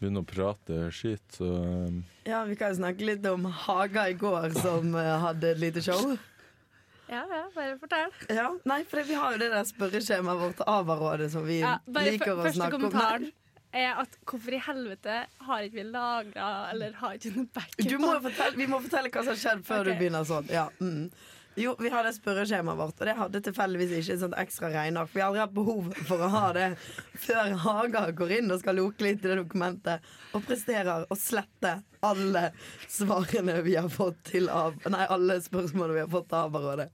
begynne å prate skit, så um, Ja, Vi kan jo snakke litt om Haga i går, som eh, hadde et lite show. Ja, ja, bare fortell. Ja, Nei, for vi har jo det der spørreskjemaet vårt ABA-rådet som vi Ja, bare liker å første snakke om. kommentaren er at hvorfor i helvete har ikke vi lagra eller har ikke noe backup? Du må fortelle, vi må fortelle hva som har skjedd før Ok. du begynner sånn. Ja, mm. Jo, vi har det spørreskjemaet vårt, og det hadde tilfeldigvis ikke et sånt ekstra regneark. Vi har aldri hatt behov for å ha det før Haga går inn og skal loke litt i det dokumentet, og presterer å slette alle svarene vi har fått til av Nei, alle spørsmålene vi har fått av Rådet.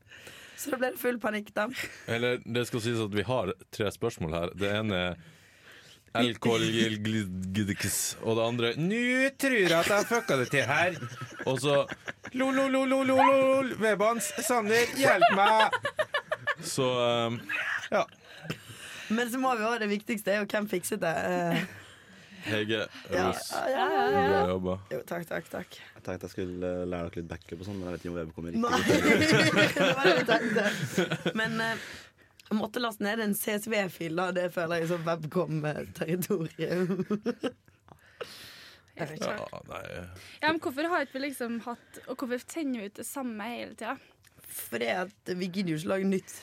Så da ble det full panikk, da. Eller det skal sies at vi har tre spørsmål her. Det ene er Elkolgilgidikis. Og det andre Nå tror jeg at jeg fucka det til her. Og så Lololololol. Vebans, Sander, hjelp meg! Så um, ja. Men så må vi også, det viktigste er jo hvem fikset det. Eh, Hege ja, Rus, ja, ja, ja. bra jobba. Jo, takk, takk, takk. Jeg tenkte jeg skulle eh, lære dere litt backup og sånn, men jeg vet ikke om Vebe kommer Nei, riktig. det var det jeg tenkte. Men eh, jeg måtte laste ned en CSV-fil, da. Det føler jeg som webcom-territorium. Helt Ja, klart. nei Ja, men hvorfor har ikke vi liksom hatt Og hvorfor sender vi ut det samme hele tida? Fordi at vi gidder jo ikke lage nytt.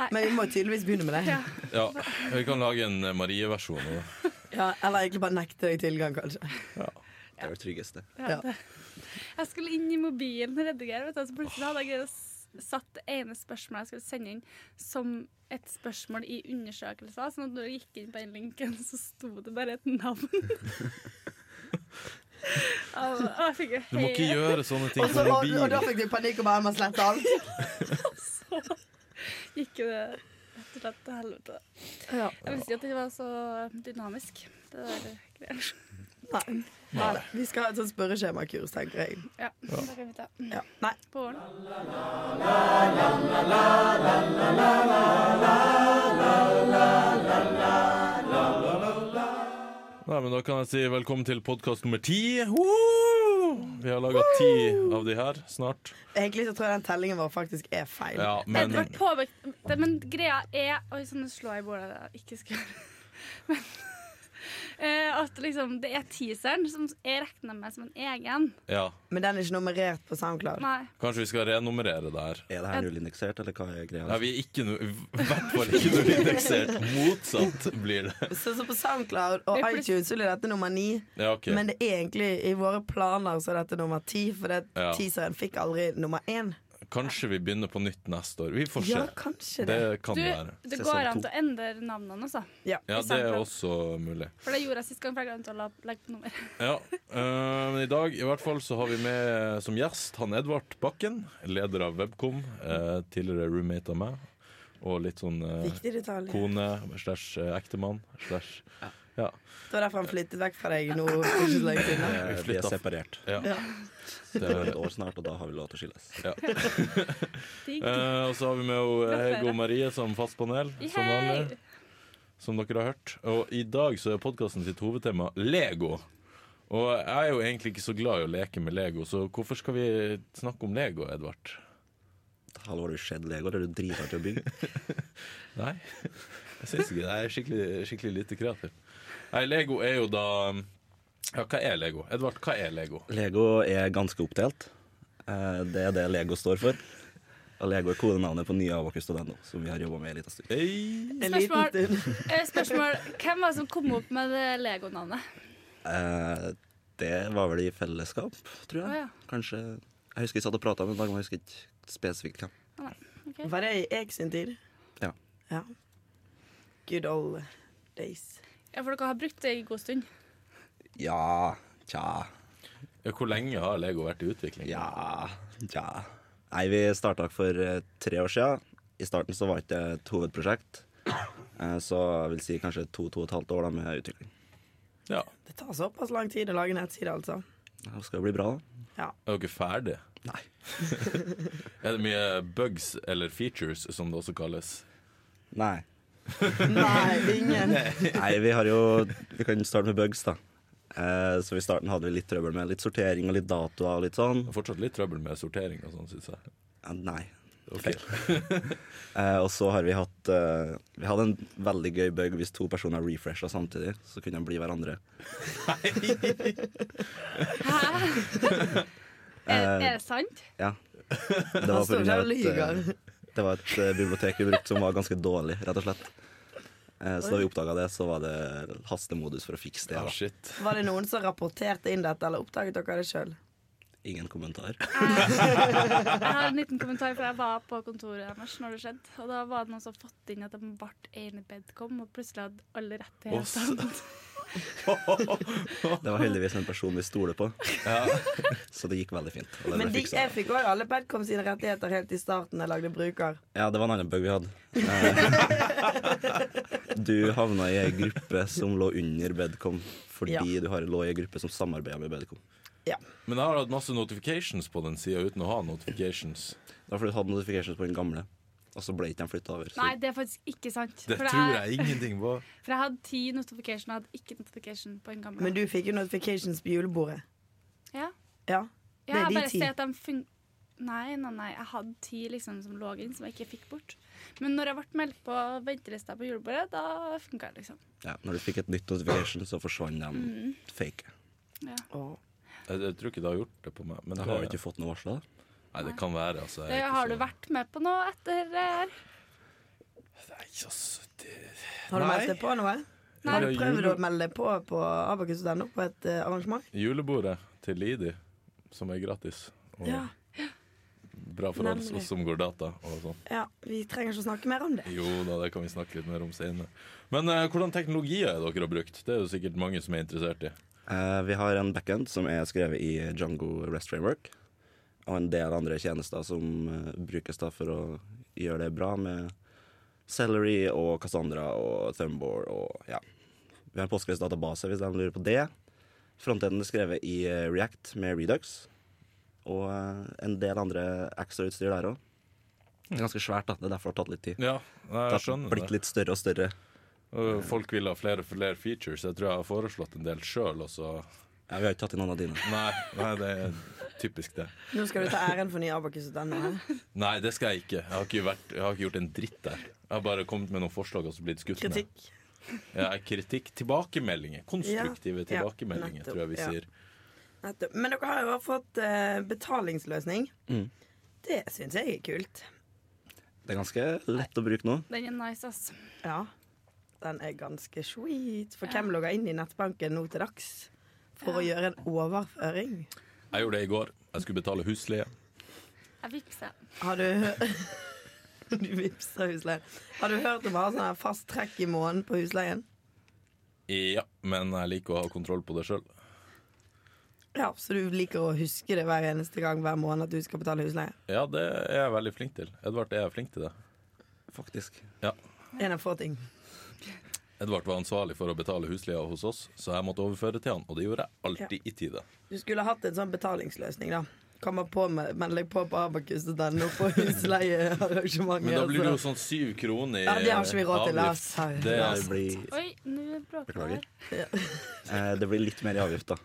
Nei. Men vi må tydeligvis begynne med det. ja. Ja, vi kan lage en eh, Marie-versjon. av det. Ja, eller egentlig bare nekte deg tilgang, kanskje. Det er det tryggeste. Ja. Jeg skulle inn i mobilen og redigere, vet du, så plutselig hadde jeg greid å s- satt det ene spørsmålet jeg skulle sende inn, som et spørsmål i undersøkelser. Så når jeg gikk inn på den linken, så sto det bare et navn. Og jeg fikk jo Du må ikke helt- gjøre sånne ting Og, på så, og, og da mobilen. fikk du panikk og bare må slette alt. Så gikk jo det rett og slett til helvete. Ja. Jeg visste ikke at det var så dynamisk. Det der greier. Nei. Nei. Vi skal ha et sånt spørreskjemakurs, tenker jeg. Ja, det kan vi ta Ja. Nei. på våren. Nei, men Da kan jeg si velkommen til podkast nummer ti. Woo! Vi har laga ti av de her snart. Egentlig så tror jeg den tellingen vår faktisk er feil. Ja, men Men, det ble påbekt, det, men greia er Oi, sånn nå slår jeg i bordet jeg ikke skal gjøre. Men eh, at liksom, det er teaseren som jeg regner med som en egen. ja, Men den er ikke nummerert på SoundCloud. Nei. kanskje vi skal renummerere det her. Er det her nullindeksert, eller hva er greia? Nei, vi er ikke no, I hvert fall ikke noe indeksert. Motsatt blir det. Så, så på SoundCloud og Det er plutselig- iTunes så blir dette nummer ni. Ja, OK. Men det er egentlig i våre planer så er dette nummer ti, for det, Ja. teaseren fikk aldri nummer én. Kanskje vi begynner på nytt neste år. Vi får se. Ja, kanskje det. Det kan Du, være. det Sesong går an to. til å endre navnene, altså. Ja. Ja, det er Eksempel. også mulig. For det gjorde jeg sist gang, for jeg glemte å la- legge på nummer. Ja, eh, men I dag i hvert fall så har vi med eh, som gjest han Edvard Bakken, leder av Webcom. eh, tidligere roommate av meg. Og litt sånn eh, Viktig detalj. kone slash eh, ektemann slash ja. Det var derfor han flyttet vekk fra deg nå. for ikke så lenge siden. Eh, vi Vi er flytta. separert. ja. Ja. Det er et år snart, og da har vi lov til å skilles. Digg. Eh, og så har vi med jo Hege og Gratulerer. Marie som fast panel, som Yay! vanlig. Som dere har hørt. Og i dag så er podkasten sitt hovedtema Lego. Og jeg er jo egentlig ikke så glad i å leke med Lego, så hvorfor skal vi snakke om Lego, Edvard? Hallo, har du skjedd Lego? Det er du dritartig til å bygge. Nei, jeg syns ikke det. Jeg er skikkelig, skikkelig lite kreativ. Nei, Lego er jo da Ja, hva er Lego? Edvard, hva er Lego? Lego er ganske oppdelt. Eh, Det er det Lego står for. Og Lego er kodenavnet på nye Avakus Studendo, som vi har jobba med en liten stund. Ei. En liten Spørsmål. stund. Eh, Spørsmål. Hvem var det som kom opp med det Lego-navnet? Eh, Det var vel i fellesskap, tror Å, jeg. ja. Kanskje Jeg husker vi satt og prata med en dag, men jeg husker ikke spesifikt hvem. Ok. Var det i Ek sin tid? Ja. ja. Good old days. Ja, for dere har brukt det i en god stund. Ja, tja, Ja, hvor lenge har Lego vært i utvikling? ja, tja. Nei, vi starta for eh, tre år sia. I starten så var ikke det et hovedprosjekt. Eh, Så jeg vil si kanskje to, to og et halvt år da med utvikling. Ja. Det tar såpass lang tid å lage nettside, altså. Ja, Det skal jo bli bra, da. Er dere ferdige? Nei. Er det mye bugs eller features, som det også kalles? Nei. Nei, ingen. Nei, vi har jo Vi kan starte med bugs, da. Eh, så i starten hadde vi litt trøbbel med litt sortering og litt datoer og litt sånn. Det er fortsatt litt trøbbel med sortering og sånn, syns jeg. Ja, nei. ok. Eh, og så har vi hatt eh, Vi hadde en veldig gøy bug hvis to personer refresha samtidig. Så kunne de bli hverandre. Hæ? Er, er det sant? Ja. Det Han står på grunn der og av et, eh, lyver. det var et eh, bibliotek vi brukte som var ganske dårlig, rett og slett. Eh, så da vi oppdaga det, så var det hastemodus for å fikse det. Ah, Da. shit. Var det noen som rapporterte inn dette, eller oppdaget dere det sjøl? Ingen kommentar. Jeg har en liten kommentar, for jeg var på kontoret deres når det skjedde. Og da var det noen som fått inn at de ble enig bedkom, og plutselig hadde alle rettigheter. Det var heldigvis en person vi stoler på, så det gikk veldig fint. Og det, Men de, ble fikset. jeg fikk òg alle Bedcom sine rettigheter helt i starten jeg lagde bruker. Ja, det var en annen bug vi hadde. Eh, Du havna i ei gruppe som lå under Bedcom fordi Ja. du har lå i ei gruppe som samarbeider med Bedcom. Ja. Men jeg har hatt masse notifications på den sida uten å ha notifications. Det var fordi du hadde notifications på den gamle, og så ble ikke de flytta over. Så Nei, det er faktisk ikke sant. Det for, tror jeg ingenting på. for jeg hadde ti notification, og jeg hadde ikke notification på en gammel. Men du fikk jo notifications på julebordet. ja. Ja. det Ja, jeg er de bare ti. ser at de fun... Nei, nei, nei. Jeg hadde ti liksom, som lå inn, som jeg ikke fikk bort. Men når jeg ble meldt på ventelista på julebordet, da funka det, liksom. ja, når du fikk et nytt notification, så forsvant de fake. Ja. Åh. Jeg, jeg tror ikke det har gjort det på meg. Men det, Du har har jo ikke fått noe varsel, da. Nei, det kan være. Altså, Det har du vært med på noe etter det her? Nei, altså, det... Har du Nei. meldt deg på noe? Nei. Har du prøvd å melde deg på på Abakus.no på et eh, arrangement? Julebordet til Lidi, som er gratis. Og Ja. bra for oss, Nemlig. oss som går data og sånn. ja. Vi trenger ikke å snakke mer om det. Jo da, det kan vi snakke litt mer om senere. Men eh, hvordan teknologier er dere har brukt? Det er jo sikkert mange som er interessert i. Eh, vi har en backend som er skrevet i Django Rest Framework, og en del andre tjenester som eh, brukes da for å gjøre det bra med Celery og Cassandra og Thumbore og ja. Vi har en Postgres-database hvis de lurer på det. Frontenden er skrevet i eh, React med Redux, og eh, en del andre extra-utstyr der òg. Ganske svært, da. Det er derfor det har tatt litt tid. Ja, Det jeg har skjønner blitt det. litt større og større. Og Folk vil ha flere og flere features. Jeg tror jeg har foreslått en del sjøl, og så Ja, vi har ikke tatt inn noen av dine. nei, nei, det er typisk det. Nå skal du ta æren for nye Abakus.no. her. Nei, det skal jeg ikke. Jeg har ikke, vært, jeg har ikke gjort en dritt der. Jeg har bare kommet med noen forslag og så blitt skutt med. Kritikk. Ja, kritikk. Tilbakemeldinger. Konstruktive Ja, ja, tilbakemeldinger, nettopp, tror jeg vi ja. sier. Nettopp. Men dere har jo også fått eh, betalingsløsning. Det syns jeg er kult. Det er ganske lett å bruke nå. Den er nice, ass. Ja. Den er ganske sweet. For hvem logger inn i nettbanken nå til dags for å gjøre en overføring? Jeg gjorde det i går. Jeg skulle betale husleie. Jeg vippser. Har du Du vipser husleien. Har du hørt om å ha sånn her fast trekk i måneden på husleien? Ja, men jeg liker å ha kontroll på det sjøl. Ja, Så du liker å huske det hver eneste gang hver måned at du skal betale husleie? Ja, det er jeg veldig flink til. Edvard er flink til det. Faktisk. Ja. En av få ting. Edvard var ansvarlig for å betale husleia hos oss, så jeg måtte overføre til han, og det gjorde jeg alltid i tide. Du skulle hatt en sånn betalingsløsning, da. Kommer på med Meld deg på på Abakus og den nå på husleiearrangementet. Men da blir det jo altså. sånn syv kroner i Ja, det har ikke vi råd til, avgift. Lars. Her. Det er- Det blir, Oi, nå bråker det Beklager. her. eh, det blir litt mer i avgift, da.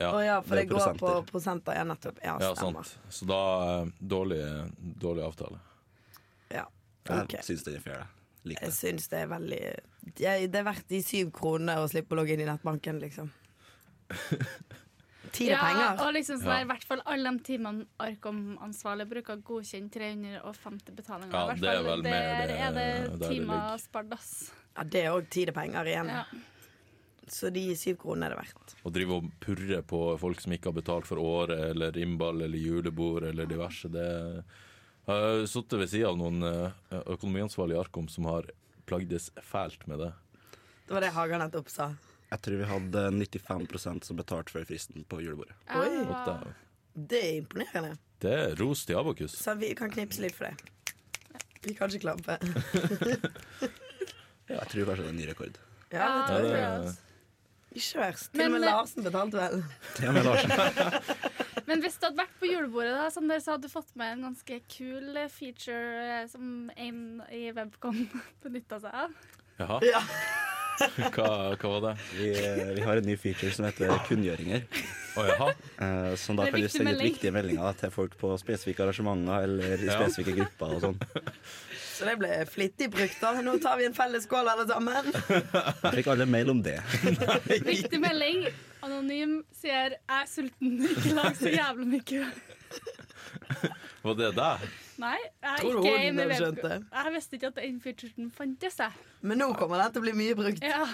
Ja, Å ja, for det, det er går på prosenter. prosenter. Ja, nettopp. Ja, Ja, stemmer. sant. Så da eh, dårlig, dårlig avtale. Ja, Jeg ok. syns den er fair. Jeg liker Jeg det. syns det er veldig Det er det er verdt de syv kronene å slippe å logge inn i nettbanken, liksom. Tid er penger. og liksom sånn Ja. der, i hvert fall alle de timene Arkom-ansvarlig bruker å godkjenne 350 betalinger. Ja, I hvert det er fall vel mer der det- der er det det ligger. timer spart, ass. Ja, det er òg tid er penger igjen. Ja. Så de syv kronene er det verdt. Å drive og purre på folk som ikke har betalt for året, eller innball eller julebord eller diverse, det Jeg har sittet ved sida av noen eh, økonomiansvarlige i Arkom som har plagdes fælt med det. Det var det Haga nettopp sa. Jeg tror vi hadde 95 som betalte før fristen på julebordet. Jeg Oi. At var- det- Det er imponerende. Det er ros til Abakus. Så vi kan knipse litt for det. Vi kan ikke klappe. Jeg tror kanskje det er en ny rekord. Ja, det Ja, tror det jeg. er- Ikke verst. Til og Men- eh, med Larsen betalte vel. Ja, men Larsen, Men hvis du hadde vært på julebordet, da, Sander, så hadde du fått med en ganske kul eh, feature eh, som en i Webcom benytta seg av. Jaha. Ja. Hva, hva var det? Vi, eh, vi har en ny feature som heter kunngjøringer. Å jaha. eh, Som da Det er kan du viktig sende ut melding. viktige meldinger da, til folk på spesifikke arrangementer eller i Ja. spesifikke grupper og sånn. Så det ble flittig brukt, da. Nå tar vi en felles skål, alle sammen. Jeg fikk alle mail om det. Viktig melding. Anonym sier 'jeg er sulten, ikke lag så jævlig mye'. Var det deg? Nei, jeg er Tror du ikke hun med skjønte? VPK. Jeg visste ikke at den featuren fantes, jeg. Men nå kommer den til å bli mye brukt. Ja.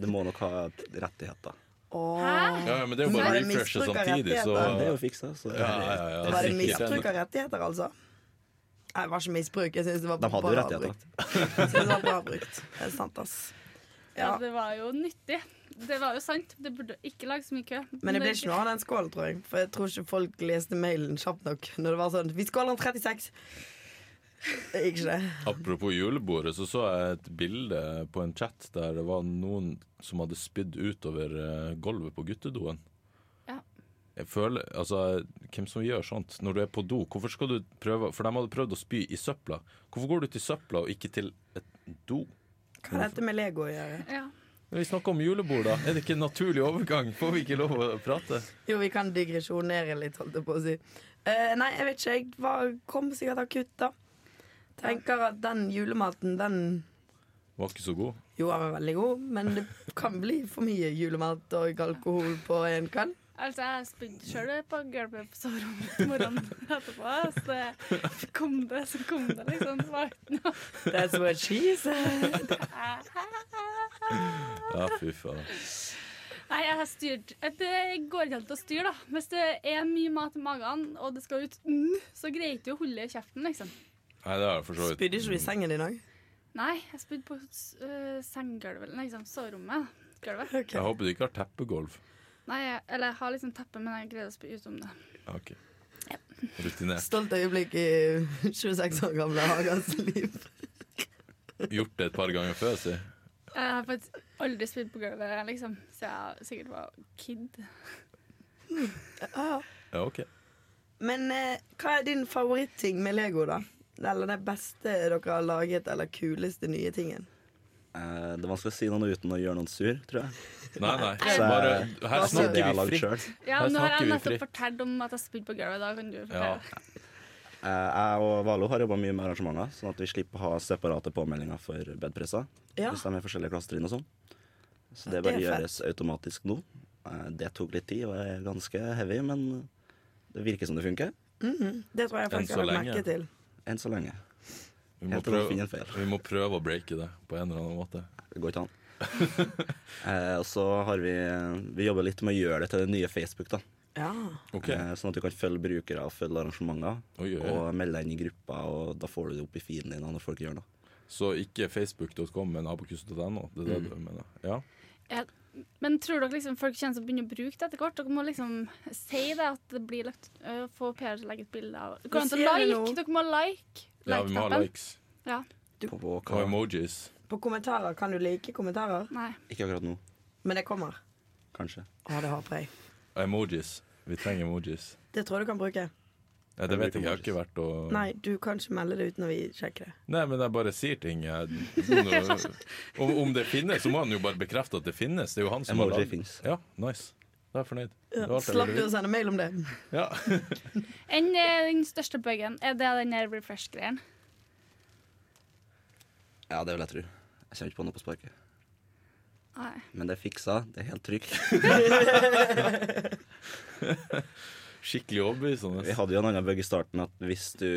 Det må nok ha rettigheter. Åh. Ja, ja, men det er jo bare Var det refreshet misbruk av samtidig, så Men det er jo fiksa, så ja, ja, ja, Det var det sikkert. misbruk av rettigheter, altså? Nei, det var ikke misbruk. Jeg synes det var De hadde jo bra rettigheter. brukt. Jeg synes det var bra brukt. Det er sant, ass. Ja. Ja, det var jo nyttig. Det var jo sant. Det burde ikke lage så mye kø. Men det ble ikke noe av den skålen, tror jeg. For jeg tror ikke folk leste mailen kjapt nok. Når det var sånn Vi skåler om 36! Det gikk ikke, det. Apropos julebordet, så så jeg et bilde på en chat der det var noen som hadde spydd utover eh, gulvet på guttedoen. Ja. Jeg føler, altså, Hvem som gjør sånt når du er på do? Hvorfor skal du prøve For de hadde prøvd å spy i søpla. Hvorfor går du til søpla og ikke til et do? Hva har dette med Lego å gjøre? Ja. Når vi snakker om julebord, da. Er det ikke en naturlig overgang? Får vi ikke lov å prate? Jo, vi kan digresjonere litt, holdt jeg på å si. Eh, nei, jeg vet ikke. Jeg var, kom sikkert akutt, da. Tenker at den julematen, den Var ikke så god. Jo, den var veldig god, men det kan bli for mye julemat og alkohol på en kveld. Altså, jeg spydde sjøl på gulvet på soverommet morgenen etterpå. Så det kom det, så kom det, liksom. Det var ikke noe That's what she said. Ja, fy faen. Nei, jeg har styrt Eh, Det går ikke helt å styre, da. Hvis det er mye mat i magen, og det skal ut mm, så greier ikke du å holde kjeften, liksom. Nei, det har jeg for så vidt. Spydde ikke du i sengen din òg? Nei, jeg spydde på uh, senggulvet, eller liksom soverommet. Gulvet. Jeg håper du ikke har teppegulv. Nei, jeg, eller jeg har liksom teppe, men jeg greier å spy utom det. Ja, OK. Rutinert. Stolt øyeblikk i 26 år gamle Hagas liv. Gjort det et par ganger før, si. Jeg har faktisk aldri spydd på gulvet, liksom. Så jeg sikkert var kid. Ah, Ja, OK. Men eh, hva er din favoritting med Lego, da? Eller det beste dere har laget, eller kuleste nye tingen? Eh, Det er vanskelig å si noe uten å gjøre noen sur, tror jeg. Nei, nei. Så Bare, her jeg sier det jeg snakker har vi lagd fritt. selv. Her Ja, nå har snakker jeg vi nettopp fritt. fortalt om at jeg spydde på gulvet. Da kan du Ja. fortelle. Eh, Jeg og Valo har jobba mye med arrangementer, sånn at vi slipper å ha separate påmeldinger for bedpresser. Ja. Hvis de er forskjellige klassetrinn og sånn. Så Ja, det det bare er fett. gjøres automatisk nå. Eh, Det tok litt tid og er ganske heavy, men det virker som det funker. Det tror Enn jeg faktisk så jeg har lagt lenge. merke til. Enn så lenge. Vi må, Helt til man prøve, finner en feil. vi må prøve å breake det på en eller annen måte. Det går ikke an. Eh, Og så har vi Vi jobber litt med å gjøre det til det nye Facebook, da. Ja. Ok, Eh, Sånn at du kan følge brukere og følge arrangementer. Oi, oi, oi. Og melde deg inn i grupper, og da får du det opp i feeden din når folk gjør noe. Så ikke facebook.com, men abokus.no. Det er det Mm. du mener. Ja. Ja. Men tror dere liksom folk kjenner som begynner å bruke det etter hvert? Dere må liksom si det at det blir lagt øh, Få PR til å legge et bilde av Går det an til å sier det nå. like? Dere må like. ja, vi må ha Like-knappen. likes Ja. På hva? og emojis. På kommentarer kan du like kommentarer, Nei. Ikke akkurat nå, men det kommer. kanskje. Å, det håper jeg. Emojis. Vi trenger emojis. Det tror jeg du kan Mm. bruke. Ja, det vet jeg, jeg har ikke vært og Nei, du kan ikke melde det uten å vi sjekker det. Nei, men jeg bare sier ting. Jeg, om, om det finnes, så må han jo bare bekrefte at det finnes. Det er jo han som har Emoji lagd- finnes. Ja, nice. Da er jeg fornøyd. Det var alt jeg Slapp ville du å vite. sende mail om det? Ja. Enn øh, den største buggen, er det den der refresh-greien? Ja, det vil jeg tro. Jeg kommer ikke på noe på sparket. Nei. Men det er fiksa. Det er helt trygt. Skikkelig overbevisende. Vi hadde jo en annen bug i starten at hvis du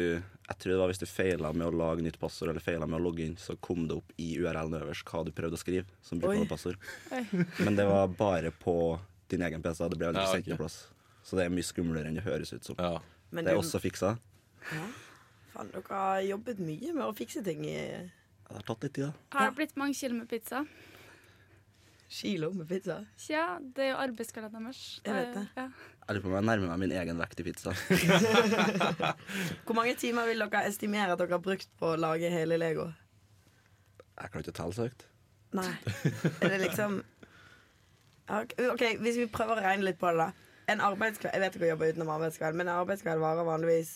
Jeg tror det var hvis du feila med å lage nytt passord eller feilet med å logge inn, så kom det opp i URL-en øverst hva du prøvde å skrive som Oi. brukerpassord. Oi. Men det var bare på din egen PC. Det ble aldri Ja, sendt ok. noe plass. Så det er mye skumlere enn det høres ut som. Ja. Men Det er du, også fiksa. faen, dere har jobbet mye med å fikse ting i Ja, Det har tatt litt tid, da. Har det blitt mange kilo med pizza? kilo med pizza. Tja, det er jo arbeidskalenderen deres. Jeg vet det. Ja. Jeg lurer på om jeg nærmer meg min egen vekt i pizza. Hvor mange timer vil dere estimere at dere har brukt på å lage hele Lego? Jeg klarer ikke å telle så høyt. Nei. Er det liksom Ja, ok, OK, hvis vi prøver å regne litt på det, da. En arbeidskveld Jeg vet ikke å jobbe utenom arbeidskveld, men en arbeidskveld varer vanligvis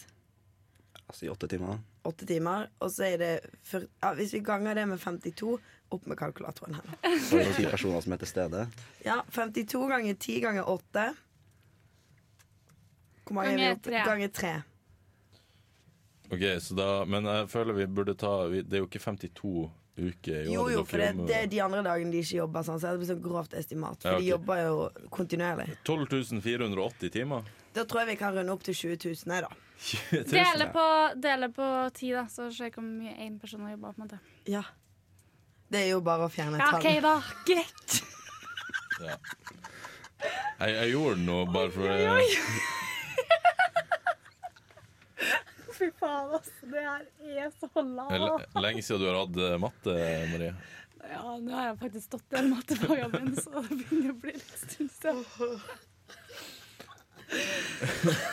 Altså i åtte timer. da. åtte timer, og så er det fyr- ja, Hvis vi ganger det med 52 Opp med kalkulatoren her. nå. For de ti personer som er til stede. Ja, 52 ganger 10 ganger 8 Hvor mange er vi Ganger oppe? tre. Ganger 3. Ok, så da, Men jeg føler vi burde ta vi, Det er jo ikke 52 uker i året. Jo jo, dere for det, jobber. det er de andre dagene de ikke jobber, sånn, så det blir sånn grovt estimat. For Ja, ok. de jobber jo kontinuerlig. 12 480 timer. Da tror jeg vi kan runde opp til 20 000, jeg, da. 20 000. Dele på, dele på ti, da, så ser jeg hvor mye én person har jobba. Ja. Det er jo bare å fjerne et Ja, OK, tall. da. Greit. Ja. Jeg, jeg gjorde den nå bare for Fy faen, altså. Det her er så Eller, Lenge siden du har hatt eh, matte, Marie. Ja, nå har jeg faktisk stått i en mattefag, men så det begynner å bli litt stund siden.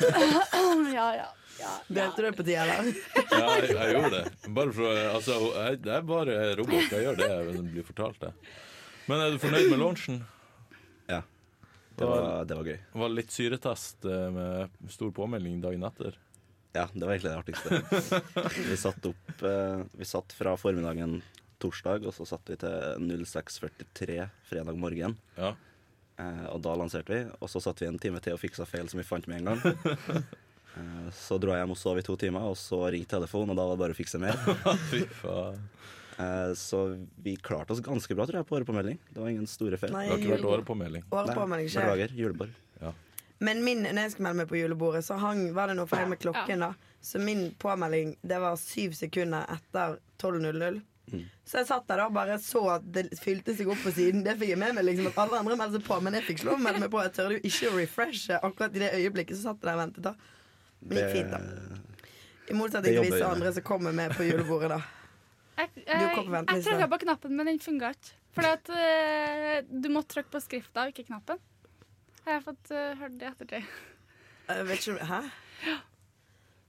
Ja, ja. ja, ja. Delte du på ti, eller? Ja, jeg, jeg gjorde det. Bare for, å- altså, jeg, jeg er bare robot. Jeg gjør det jeg blir fortalt. Det. Men er du fornøyd med launchen? Ja. Det var, det var gøy. Det var litt syretest eh, med stor påmelding dagen etter. Ja, det var egentlig det artigste. Vi satt opp eh, Vi satt fra formiddagen torsdag, og så satt vi til 06.43 fredag morgen. Ja. Eh, og da lanserte vi, og så satt vi en time til og fiksa feil som vi fant med en gang. Eh, så dro jeg hjem og sov i to timer, og så ringte telefonen, og da var det bare å fikse mer. Fy faen. Eh, så vi klarte oss ganske bra, tror jeg, på årepåmelding. Det var ingen store feil. Det har ikke vært Nei, årepåmelding. året Nei, på meg ikke. Beklager. Julebord. Ja. Men min, når jeg skulle melde meg på julebordet, så hang, var det noe feil med klokken. da Så min påmelding det var syv sekunder etter 12.00. Så jeg satt der da og bare så at det fylte seg opp på siden. Det fikk jeg med meg liksom at alle andre meldte seg på, men jeg fikk ikke lov å melde meg på. Jeg tørde jo ikke å refreshe akkurat i det øyeblikket. Så satt jeg der og ventet, da. Men det gikk fint, da. I motsetning det til jobber visse jeg med. andre som kommer med på julebordet, da. Jeg, jeg, Du kom på jeg venteliste. trykket på knappen, men den funka ikke. Fordi at eh, du må trykke på skrifta, og ikke knappen. Har jeg fått eh, hørt det i ettertid. Jeg vet ikke, Hæ?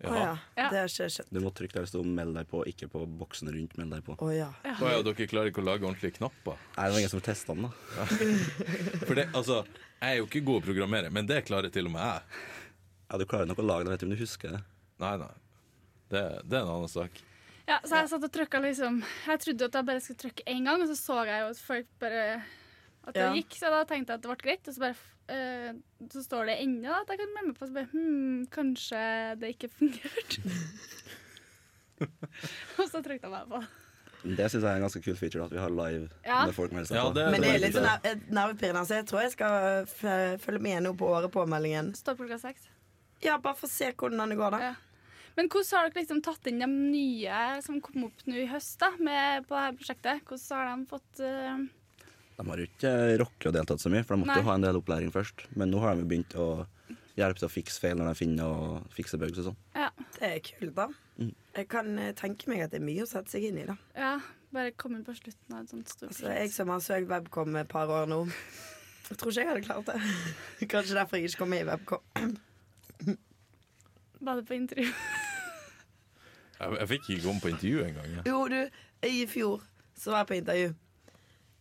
Å Ja. ja. Ja. Det har ikke skjedd. Du må trykke der det sto 'meld deg på', ikke på boksen rundt 'meld deg på'. Å ja. Å ja, dere klarer ikke å lage ordentlige knapper? Nei, det var ingen som testa den, da. For det, altså, jeg er jo ikke god å programmere, men det klarer til og med jeg. Ja, Du klarer nok å lage den, vet du, men du husker det. Nei, nei. Det, det er en annen sak. Ja, så jeg satt og trykket liksom Jeg trodde jo at jeg bare skulle trykke én gang, og så så jeg jo at folk bare At det Ja. gikk, så da tenkte jeg at det ble greit. Og så bare eh, Så står det ennå da, at jeg kan melde meg på, så bare Hm, kanskje det ikke fungerte. og så trykte jeg meg på. Det syns jeg er en ganske kul feature, at vi har live Ja. når folk melder seg Ja, på. det er Men det er litt Ja. sånn nerve- nervepirrende, så jeg tror jeg skal f følge med nå på året påmeldingen. Står klokka seks. Ja, bare for å se hvordan det går, da. Ja. Men hvordan har dere liksom tatt inn de nye som kom opp nå i høst da, med, på dette prosjektet? Hvordan har de fått eh, De har jo ikke rocket og deltatt så mye, for de måtte Nei. jo ha en del opplæring først. Men nå har de jo begynt å hjelpe til å fikse feil når de finner og fikse bugs og sånn. ja, Det er kult, da. Mm. Jeg kan eh, tenke meg at det er mye å sette seg inn i, da. ja, bare kommet på slutten av et sånt stort Altså, jeg som har søkt Webcom et par år nå. Jeg tror ikke jeg hadde klart det. Kanskje derfor jeg ikke kom med i Webcom. Var det på intervju? Jeg, jeg fikk ikke komme på intervju engang. jeg. Jo, du, i fjor så var jeg på intervju.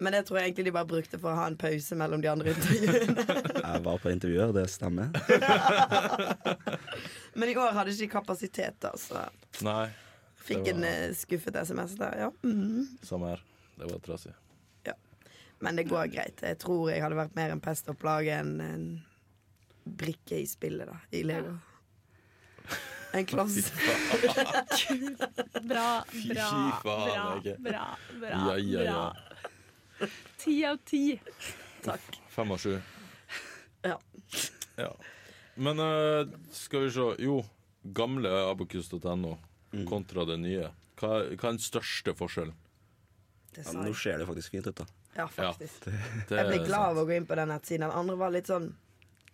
Men det tror jeg egentlig de bare brukte for å ha en pause mellom de andre intervjuene. Jeg var på intervjuet, og det stemmer. Men i år hadde ikke de kapasitet, da, så Nei, fikk Det var- en eh, skuffet SMS der, ja. samme her. Det var trasig. Men det går greit. Jeg tror jeg hadde vært mer en pest og plage enn en brikke i spillet, da. I Lego. En kloss. Bra, Fy bra, faen, bra, Åge. bra, bra, Ja, ja, ja. bra. Ti av ti. Takk. Fem av sju. Ja. Ja. Men eh, skal vi se Jo, gamle abokus.no kontra det nye. Hva, hva er den største forskjellen? Det Ja, sa men nå jeg. ser det jo faktisk fint ut, da. Ja, faktisk. Det, Jeg ble glad av å gå inn på den nettsiden. Den andre var litt sånn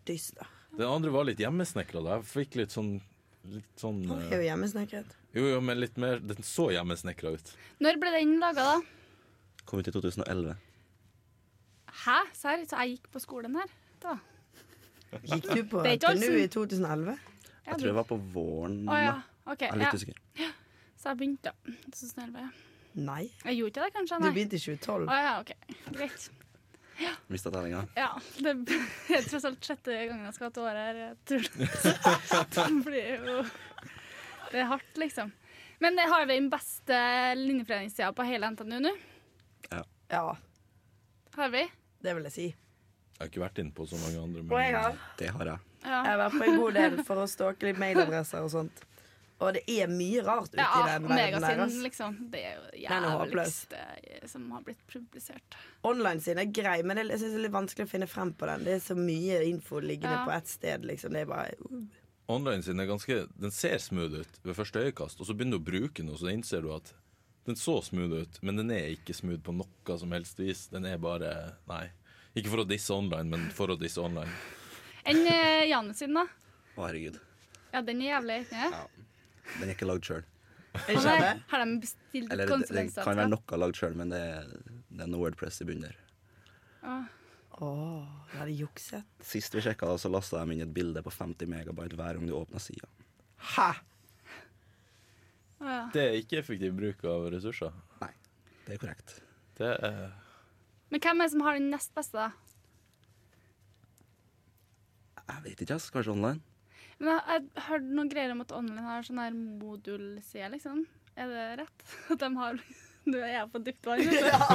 dyster. sånn- Den andre var litt hjemmesnekra. da. Jeg fikk litt sånn Litt sånn Han eh, er jo hjemmesnekret. Jo, jo, men litt mer Den så hjemmesnekra ut. Når ble den laga, da? Kom ut i 2011. Hæ? Serr? Så jeg gikk på skolen her? Da. Gikk du på Det er ikke NTNU i 2011? Ja, Jeg tror det var på våren. Å ja. da. OK. Jeg er Ja. litt usikker. Så jeg begynte, ja. Så snill var jeg. Nei. Jeg gjorde ikke det, kanskje? Du Nei. begynte i 2012. Å ja, OK. Greit. Mista tellinga. Ja. Det er tross alt sjette gangen jeg skal ha et år her. jeg tror det. Så det blir jo Det er hardt, liksom. Men det har vi den beste linjeforeningssida på hele NTNU nå? Ja, Har vi? det vil jeg si. Jeg har ikke vært inne på så mange andre. Og jeg har, Det har jeg. jeg har vært på en god del for å stalke litt mailadresser og sånt. Og det er mye rart ute i Ja, den verden der. Megasinn, ass. liksom. Det er jo det Den er håpløs. jævligste eh, som har blitt publisert. Online-siden er grei, men det, jeg synes det er litt vanskelig å finne frem på den. Det er så mye info liggende Ja. på ett sted, liksom. Det er bare Online sin er ganske Den ser smooth ut ved første øyekast, og så begynner du å bruke den, og så innser du at den så smooth ut, men den er ikke smooth på noe som helst vis. Den er bare Nei. Ikke for å disse online, men for å disse online. Enn eh, Janus sin, da? Å, herregud. Ja, den er jævlig. ikke sant? Den er ikke lagd sjøl. Ikke Har det? de- Har de bestilt Eller det, det konsekvenser? kan være noe lagd sjøl, men det er, det er noe Wordpress i bunnen der. Å, jeg hadde jukset. Sist vi sjekka, så lasta de inn et bilde på 50 megabyte hver gang du åpna sida. Hæ! Å, ja. Det er ikke effektiv bruk av ressurser. Nei, det er korrekt. Det er Men hvem er det som har den nest beste, da? Jeg vet ikke, ass. Kanskje online? Men jeg, jeg hørte noen greier om at online har sånn her modulside, liksom. Er det rett? At de har Nå er jeg på dypt vann. vet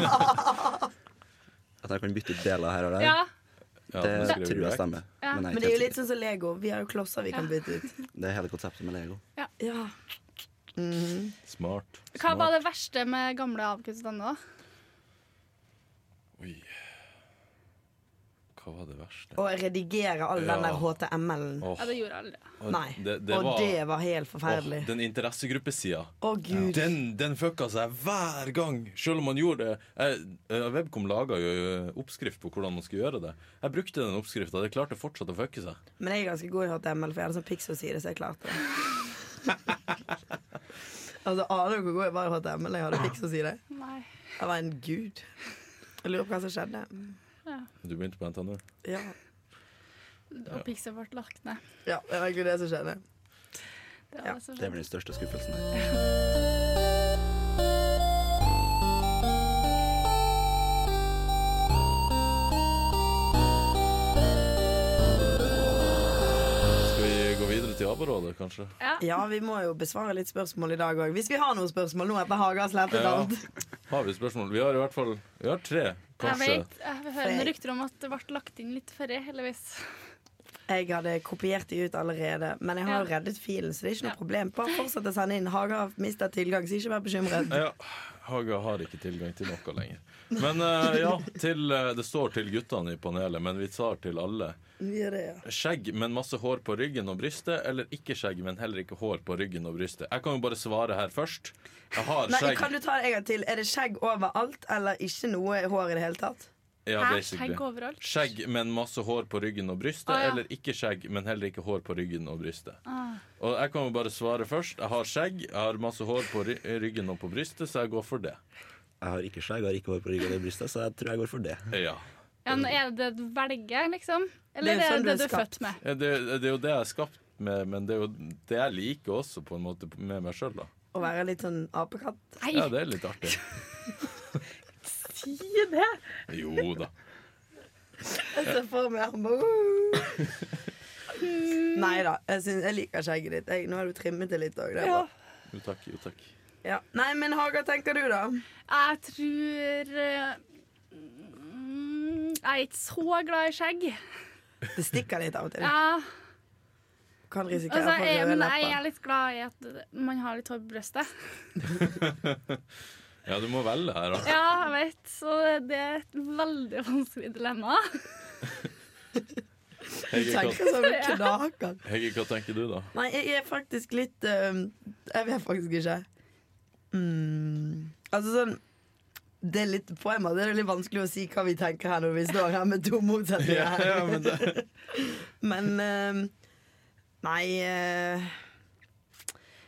At jeg kan bytte ut deler her og du. der? Ja. ja, det den skriver tror jeg korrekt. stemmer. Ja. Men, jeg Men det er jo helt litt sånn som Lego. Vi har jo klosser vi kan bytte ut. sikker. det er hele konseptet med Lego. Ja. Mhm. Smart. Hva var Smart. det verste med gamle avkunstene, da? Oi. Hva var det verste? Og redigere all den der Ja. HTML-en. Åh, Ja, det gjorde jeg aldri. og Nei. Det, det og var, det var helt forferdelig. åh, den interessegruppesida. Å, gud. Den, den fucka seg hver gang, sjøl om man gjorde det. Jeg, eh, Webcom laga jo eh, oppskrift på hvordan man skulle gjøre det. Jeg brukte den oppskrifta. Det klarte fortsatt å fucke seg. Men jeg er ganske god i HTML, for jeg hadde sånn pixel-side, så jeg klarte det. altså, Aner du hvor god jeg var i HTML? Jeg hadde pixel-side. Nei. Jeg var en gud. Jeg lurer på hva som skjedde. Du begynte på NTNU. Ja, Og Pixar ble lagt ned. ja det var egentlig det som skjedde. Det Ja, var så Det er vel den største skuffelsen. her. Skal vi gå videre til ABBA-rådet, kanskje? Ja. Ja, vi må jo besvare litt spørsmål i dag òg. Hvis vi har noen spørsmål nå etter Haga har slettet Ja. alt. Har vi spørsmål? Vi har i hvert fall Vi har tre, Jeg kanskje. vet, jeg hører noen rykter om at det ble lagt inn litt før, heldigvis. Jeg hadde kopiert de ut allerede, men jeg har jo reddet filen, så det er ikke noe problem. Bare fortsett å sende inn. Haga har mistet tilgang, så ikke vær bekymret. Ja, Haga har ikke tilgang til noe lenger. Men eh, ja, til, eh, det står til guttene i panelet, men vi tar til alle. Vi gjør det, ja. Skjegg, men masse hår på ryggen og brystet, eller ikke skjegg, men heller ikke hår på ryggen og brystet? Jeg kan jo bare svare her først. Jeg har Nei, skjegg. kan du ta det en gang til? Er det skjegg overalt, eller ikke noe hår i det hele tatt? Ja, Her, basically. skjegg overalt. Skjegg, men masse hår på ryggen og brystet, Å, ja. eller ikke skjegg, men heller ikke hår på ryggen og brystet? Ah. Og jeg kan jo bare svare først. Jeg har skjegg, jeg har masse hår på ry ryggen og på brystet, så jeg går for det. Jeg har ikke skjegg, jeg har ikke hår på ryggen eller brystet, så jeg tror jeg går for det. Ja. Ja, men er det det du velger, liksom? Det Eller er jo er sånn det du det du er er født med? Ja, Det, det er jo det jeg er skapt med, men det er jo det jeg liker også, på en måte, med meg sjøl, da. Å være litt sånn apekatt? Nei, Ja, det er litt artig. si det! Jo da. Jeg ser for meg han bare Nei da, jeg, syns- jeg liker skjegget ditt. Jeg, nå har du trimmet det litt òg. Det er Ja. bra. Jo takk, jo takk. Ja. Nei, men Haga, tenker du, da? Jeg tror eh, mm, Jeg er ikke så glad i skjegg. Det stikker litt av og til. Ja, Kan risikere altså, å få jeg, røde men jeg lepper. er litt glad i at man har litt hår på brystet. Ja, du må velge her, da. Ja, jeg vet. Så det er et veldig vanskelig dilemma. Du Hege, hva, tenker sånn knaker. Hege, hva tenker du, da? Nei, jeg er faktisk litt øhm, Jeg vet faktisk ikke. Mm, altså sånn det er litt, på en måte er det litt vanskelig å si hva vi tenker her når vi står her med to motsetninger. her. men det, Men øhm, Nei øh,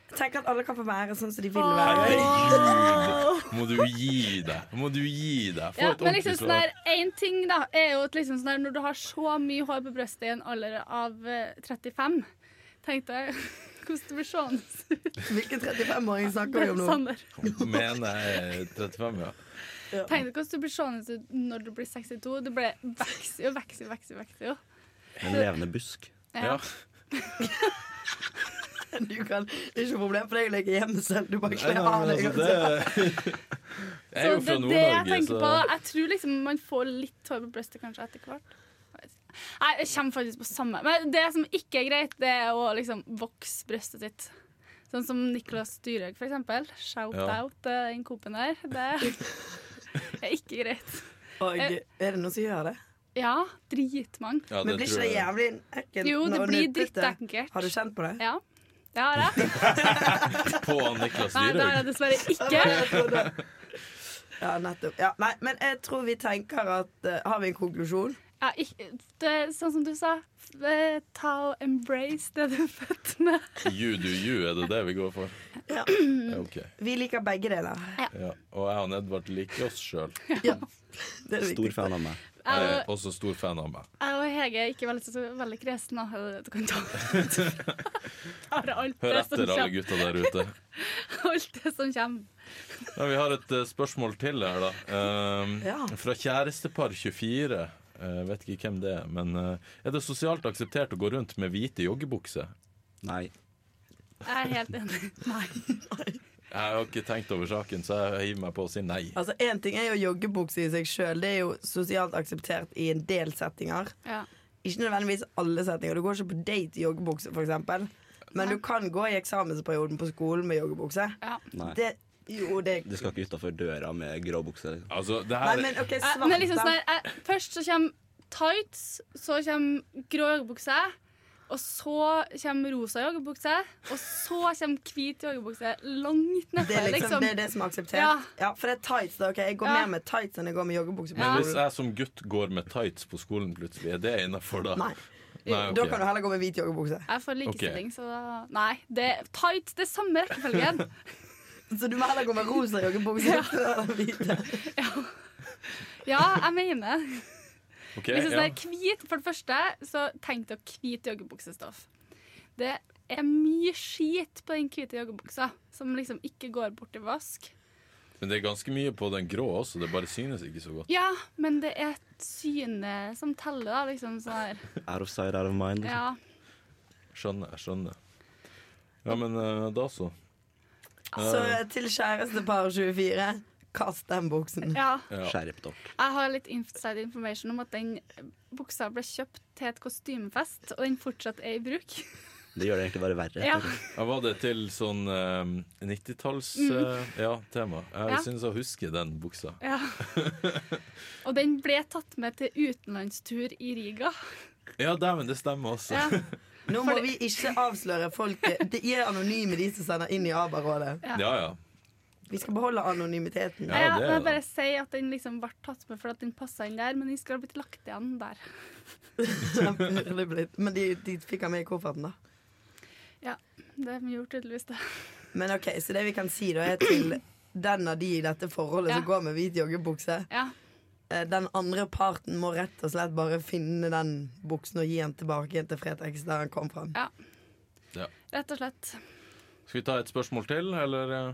Jeg tenker at alle kan få være sånn som de vil være. Herregud! Må du gi deg? Må du gi deg? Få Ja, et men ordentlig liksom sånn svar. der, en ting da, er jo at liksom sånn der, når du har så mye hår på brystet i en alder av eh, 35, tenkte jeg hvordan det blir sånn. Hvilken 35-åring snakker vi om nå? Sander. Mener jeg 35, ja. Tenkte hvordan du blir sånn ut når du blir 62. Du ble vokser jo, vokser jo, vokser jo, vokser jo. En levende busk. ja. Du kan, det er ikke noe problem, for jeg legger hjemme selv. Du bare Nei, kler nei, av men deg. altså, og det så- Jeg er jo fra Så det er det jeg Nord-Norge, tenker på. så Jeg tror liksom man får litt hår på brystet kanskje etter hvert. Jeg vet ikke. Nei, jeg kommer faktisk på samme. Men det som ikke er greit, det er å liksom vokse brystet sitt. Sånn som Nicolas Dyrhaug, for eksempel. Shout Ja. out eh, den coop der. Det er ikke greit. Og, er det noen som gjør det? Ja, dritmange. ja, Men det blir ikke tror det jeg. jævlig ekkelt? Jo, det når blir nyttet det? drittekkelt. Har du kjent på det? Ja, det har jeg. På Niklas Nei, det har jeg Dyrhaug. dessverre ikke. Ja, nettopp. Ja, nei, men jeg tror vi tenker at eh, Har vi en konklusjon? Ja, ikke, det, er sånn som du sa, f- eh, ta og embrace det du er født med. You do you, er det det vi går for? Ja. Ja, ok. Vi liker begge deler. Ja. Og jeg og Edvard liker oss sjøl. Ja. Det er det Stor viktigste. fan av meg. Jeg Jeg er også stor fan av meg. og- jeg og Hege er ikke veldig, så veldig kresne. da. Du kan ta Tar alt Hør det sånn som etter, alle kommer. gutta der ute. Alt det som kommer. Ja, vi har et eh, spørsmål til her, da. Ehm, Ja. Fra kjærestepar24. Eh, vet ikke hvem det er, men eh, er det sosialt akseptert å gå rundt med hvite joggebukser? Nei. Jeg er helt enig. Nei. Jeg har ikke tenkt over saken, så jeg hiver meg på å si nei. Altså, Én ting er jo joggebukse i seg sjøl. Det er jo sosialt akseptert i en del settinger. Ja. Ikke nødvendigvis alle setninger. Du går ikke på date i joggebukse, f.eks. Men du kan gå i eksamensperioden på skolen med joggebukse. ja. Nei. Det, jo, det Du skal ikke utafor døra med grå bukser. Altså, det Nei, her men OK, Jeg, svart. men liksom da. sånn her, jeg, først så kommer tights, så kommer grå joggebukse. Og så kommer rosa joggebukse, og så kommer hvit joggebukse langt Det er nedpå. liksom, Liksom. det, er det som er akseptert. Ja. Ja. For det er tights. da, ok? Jeg går Ja. mer med tights enn jeg går med joggebukse. på Men hvis skolen. jeg som gutt går med tights på skolen plutselig, er det innafor da? Nei. Nei, Ah, ok. Da kan du heller gå med hvit joggebukse. Jeg får likestilling, så da Nei, det, tights det er samme rekkefølgen. Så du må heller gå med rosa joggebukse før den hvite. Ja, jeg mener det. Ok, Hvis det ja. er hvit, for det første, så tenk deg hvit joggebuksestoff. Det er mye skit på den hvite joggebuksa, som liksom ikke går bort i vask. Men det er ganske mye på den grå også, det bare synes ikke så godt. Ja, men det er synet som teller, da, liksom sånn her. Out of sight, out of mind. Ja. Skjønner, jeg skjønner. Ja, men eh, da så. Så Ah. til kjærestepar 24, kast den buksen. ja. Ja. Skjerp dere. Jeg har litt inside information om at den buksa ble kjøpt til et kostymefest, og den fortsatt er i bruk. Det gjør det egentlig bare verre. Ja. Ja, var det til sånn 90-talls-tema? ja, tema. jeg Mm. Ja. synes jeg husker den buksa. ja. Og den ble tatt med til utenlandstur i Riga. Ja, dæven, det stemmer også. Ja. Nå må vi ikke avsløre folket. De er anonyme, de som sender inn i ABA-rådet. Ja, ja. Vi skal beholde anonymiteten. Ja. Ja, det men er jeg det. bare sier at den liksom ble tatt med for at den passa inn der, men den skulle ha blitt lagt igjen der. Det blir litt- Men de, de fikk han med i kofferten, da. Ja, det gjorde tydeligvis det. Men ok, Så det vi kan si, da, er til den av de i dette forholdet som Ja. går med hvit joggebukse. Ja, Eh, Den andre parten må rett og slett bare finne den buksen og gi den tilbake igjen til Fretex der han kom fra. rett og slett. Skal vi ta et spørsmål til, eller? eh?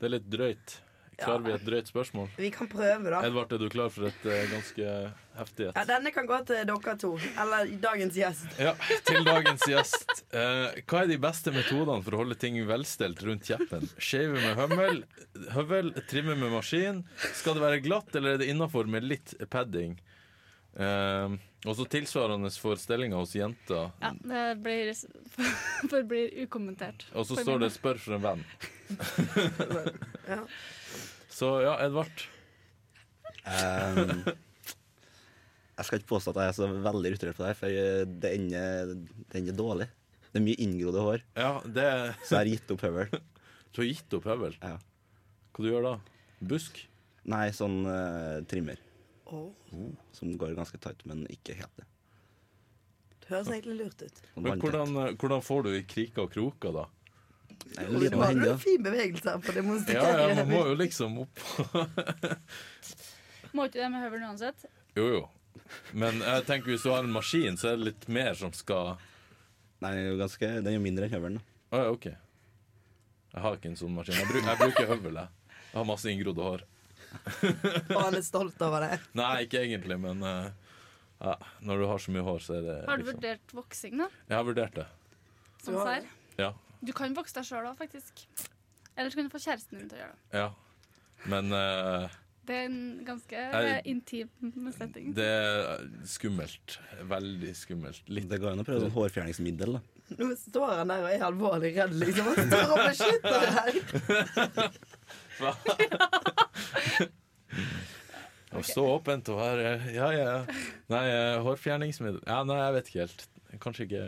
Det er litt drøyt. Klarer vi et drøyt spørsmål? Vi kan prøve, da. Edvard, er du klar for et eh, ganske heftig et? Ja, Denne kan gå til dere to. Eller dagens gjest. Ja, til dagens gjest. Eh, hva er de beste metodene for å holde ting velstelt rundt kjeppen? Shave med hømmel, høvel, trimme med maskin. Skal det være glatt, eller er det innafor med litt padding? Eh, og så tilsvarende for stellinga hos jenta. Ja, det blir, forblir ukommentert. Og så står det 'spør for en venn'. Ja. Så ja, Edvard. Um, jeg skal ikke påstå at jeg er så veldig rutinert på det, her, for jeg- det ender, det ender dårlig. Det er mye inngrodde hår, Ja, det så jeg har gitt opp høvel. Du har gitt opp høvel. Ja. Hva du gjør da? Busk? Nei, sånn eh, trimmer Oh, som går ganske tight, men ikke helt det. det høres egentlig lurt ut. Sånn Men vanntett. hvordan, eh, hvordan får du i kriker og kroker, da? Nei, Og Det Liten var hende, en da. fin bevegelse her på å Ja, demonstrere. ja, man må jo liksom opp Må ikke det med høvelen uansett? Jo, jo. Men jeg tenker hvis du har en maskin, så er det litt mer som skal Nei, den er jo ganske, den er jo mindre enn høvelen. da. Å ja, OK. Jeg har ikke en sånn maskin. Jeg bruker, jeg bruker høvel, jeg. Jeg har masse inngrodde hår. Og han er stolt over det. Nei, ikke egentlig, men eh, ja, når du har så mye hår, så er det Har du liksom vurdert voksing, da? Jeg har vurdert det. sånn har sær. det. Ja. Du kan vokse deg sjøl òg, faktisk. Eller så kan du få kjæresten din til å gjøre det. ja. Men eh, Det er en ganske Jeg- eh, intim setting. det er skummelt. Veldig skummelt. Litt Det går an å prøve sånn hårfjerningsmiddel. da Nå står han der og er alvorlig redd, liksom. Han står og beskytter deg. Å stå åpent og være eh, Ja, ja. Nei, eh, hårfjerningsmiddel Ja, nei, jeg vet ikke helt. Kanskje ikke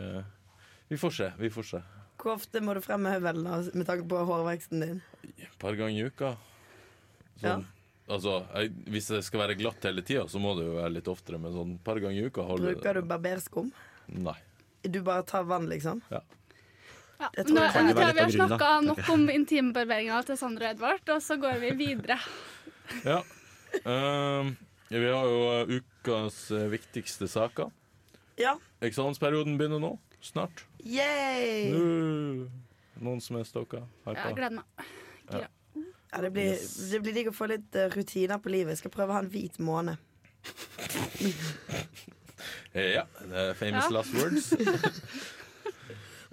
Vi får se. Vi får se. Hvor ofte må du frem med høvelen da, med tanke på hårveksten din? Et par ganger i uka. Sånn. Altså, jeg, hvis det skal være glatt hele tida, så må det jo være litt oftere, men sånn et par ganger i uka holder Bruker du barberskum? Nei. Du bare tar vann, liksom? Ja. Jeg Nå, tror nå det kan tror jeg jo være vi har litt av grunnen, snakka da. nok om intimbarberinga til Sander og Edvard, og så går vi videre. Ja. Ehm, vi har jo eh, ukas eh, viktigste saker. Ja. Eksamensperioden begynner nå. Snart. Yay! Nå. Noen som er stokka? Eh. Jeg Hypa? gleder meg. Gira. Ja, det blir, det blir digg å få litt eh, rutiner på livet. Jeg skal prøve å ha en hvit måne. Eh, Ja. det er Famous Ja. last words.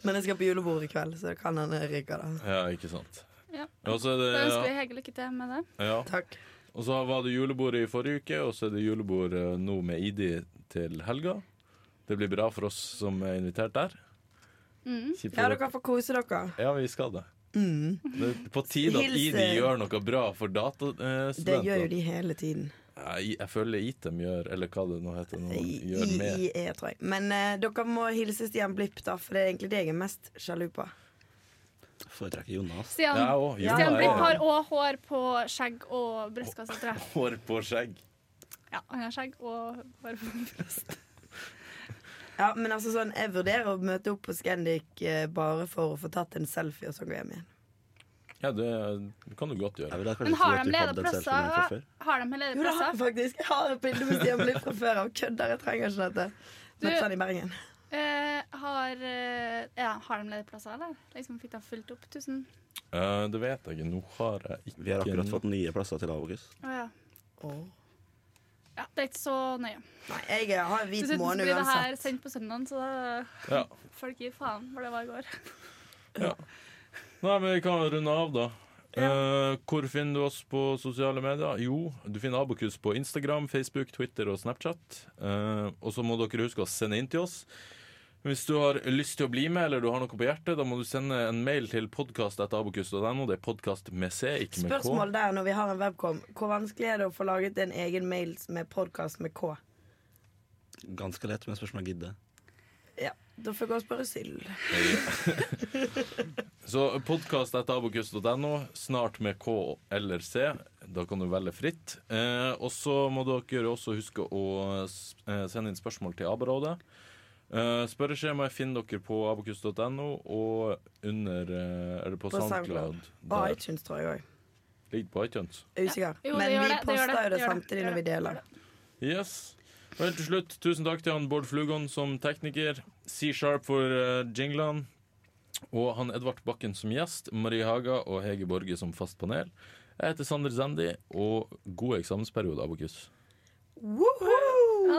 Men jeg skal på julebord i kveld, så det kan hende jeg ryker, da. Ja, ikke sant. Ja. Og så er Da ønsker vi det, Hege lykke til med det. ja. Takk. Og så var det julebord i forrige uke, og så er det julebord eh, nå med ID til helga. Det blir bra for oss som er invitert der. Mm. Kjipt Ja, for dere får kose dere. Ja, vi skal det. Mm. Det er på tide at Hils, ID eh, gjør noe bra for datastudenter. Det gjør jo de hele tiden. Jeg, jeg føler ITEM gjør, eller hva det nå heter, nå, gjør med. IE, tror jeg. Men eh, dere må hilse Stian Blipp, da, for det er egentlig det jeg er mest sjalu på. Foretrekker Jonas. Jeg Stian, òg. Ja, Stian ja, ja. Blipp har òg hår på skjegg og brystkasse, tror jeg. Hår på skjegg. Ja, han har skjegg og hår på bryst. Ja, men altså sånn, Jeg vurderer å møte opp på Scandic eh, bare for å få tatt en selfie og så gå hjem igjen. Ja, det eh, kan du godt gjøre. Jeg ville kanskje Men tro har at de du hadde ledige en selfie med meg fra plasser? før. Har de Jo, ledige det har plasser? jeg faktisk. Jeg har et bilde med Stian Blipp fra før av. Kødder, jeg trenger ikke dette. Du- Møtte han i Bergen. Eh, har, eh, ja, har de ledige plasser, eller? Liksom fikk de fylt opp 1000? Eh, det vet jeg ikke. Nå har jeg ikke Vi har akkurat fått nye plasser til Avokus. Å ja. Åh. ja. Det er ikke så nøye. Nei, jeg har en hvit Dessuten så måne blir det her uansett. sendt på søndagen, så da ja. folk gir faen for det var i går. Nei, men vi kan runde av, da. Eh, hvor finner du oss på sosiale medier? Jo, du finner Abokus på Instagram, Facebook, Twitter og Snapchat. Eh, og så må dere huske å sende inn til oss. Hvis du har lyst til å bli med, eller du har noe på hjertet, da må du sende en mail til podkast.abokus.no. Det er podkast med C, ikke med K. Spørsmål der når vi har en webcom. Hvor vanskelig er det å få laget en egen mail med podkast med K? Ganske lett, men spørsmålet gidder. Ja, Da får jeg gå og spørre Syl. Så podkast.abokus.no, snart med K eller C. Da kan du velge fritt. Eh, og så må dere også huske å s- eh, sende inn spørsmål til ABA-rådet. Eh, spørreskjemaet finner dere på abokus.no og under eh, Eller på, På SoundCloud. SoundCloud. Og Der. iTunes, tror jeg òg. Ligger på iTunes. Usikker. Jo, det Men gjør vi det, det gjør poster det, jo det det gjør samtidig det, når vi det gjør deler. Yes. Og helt til slutt, tusen takk til han Bård Flugon som tekniker, C-Sharp for eh, jinglene, og han Edvard Bakken som gjest, Marie Haga og Hege Borge som fast panel. Jeg heter Sander Zendi, og god eksamensperiode, Abokus. Woohoo!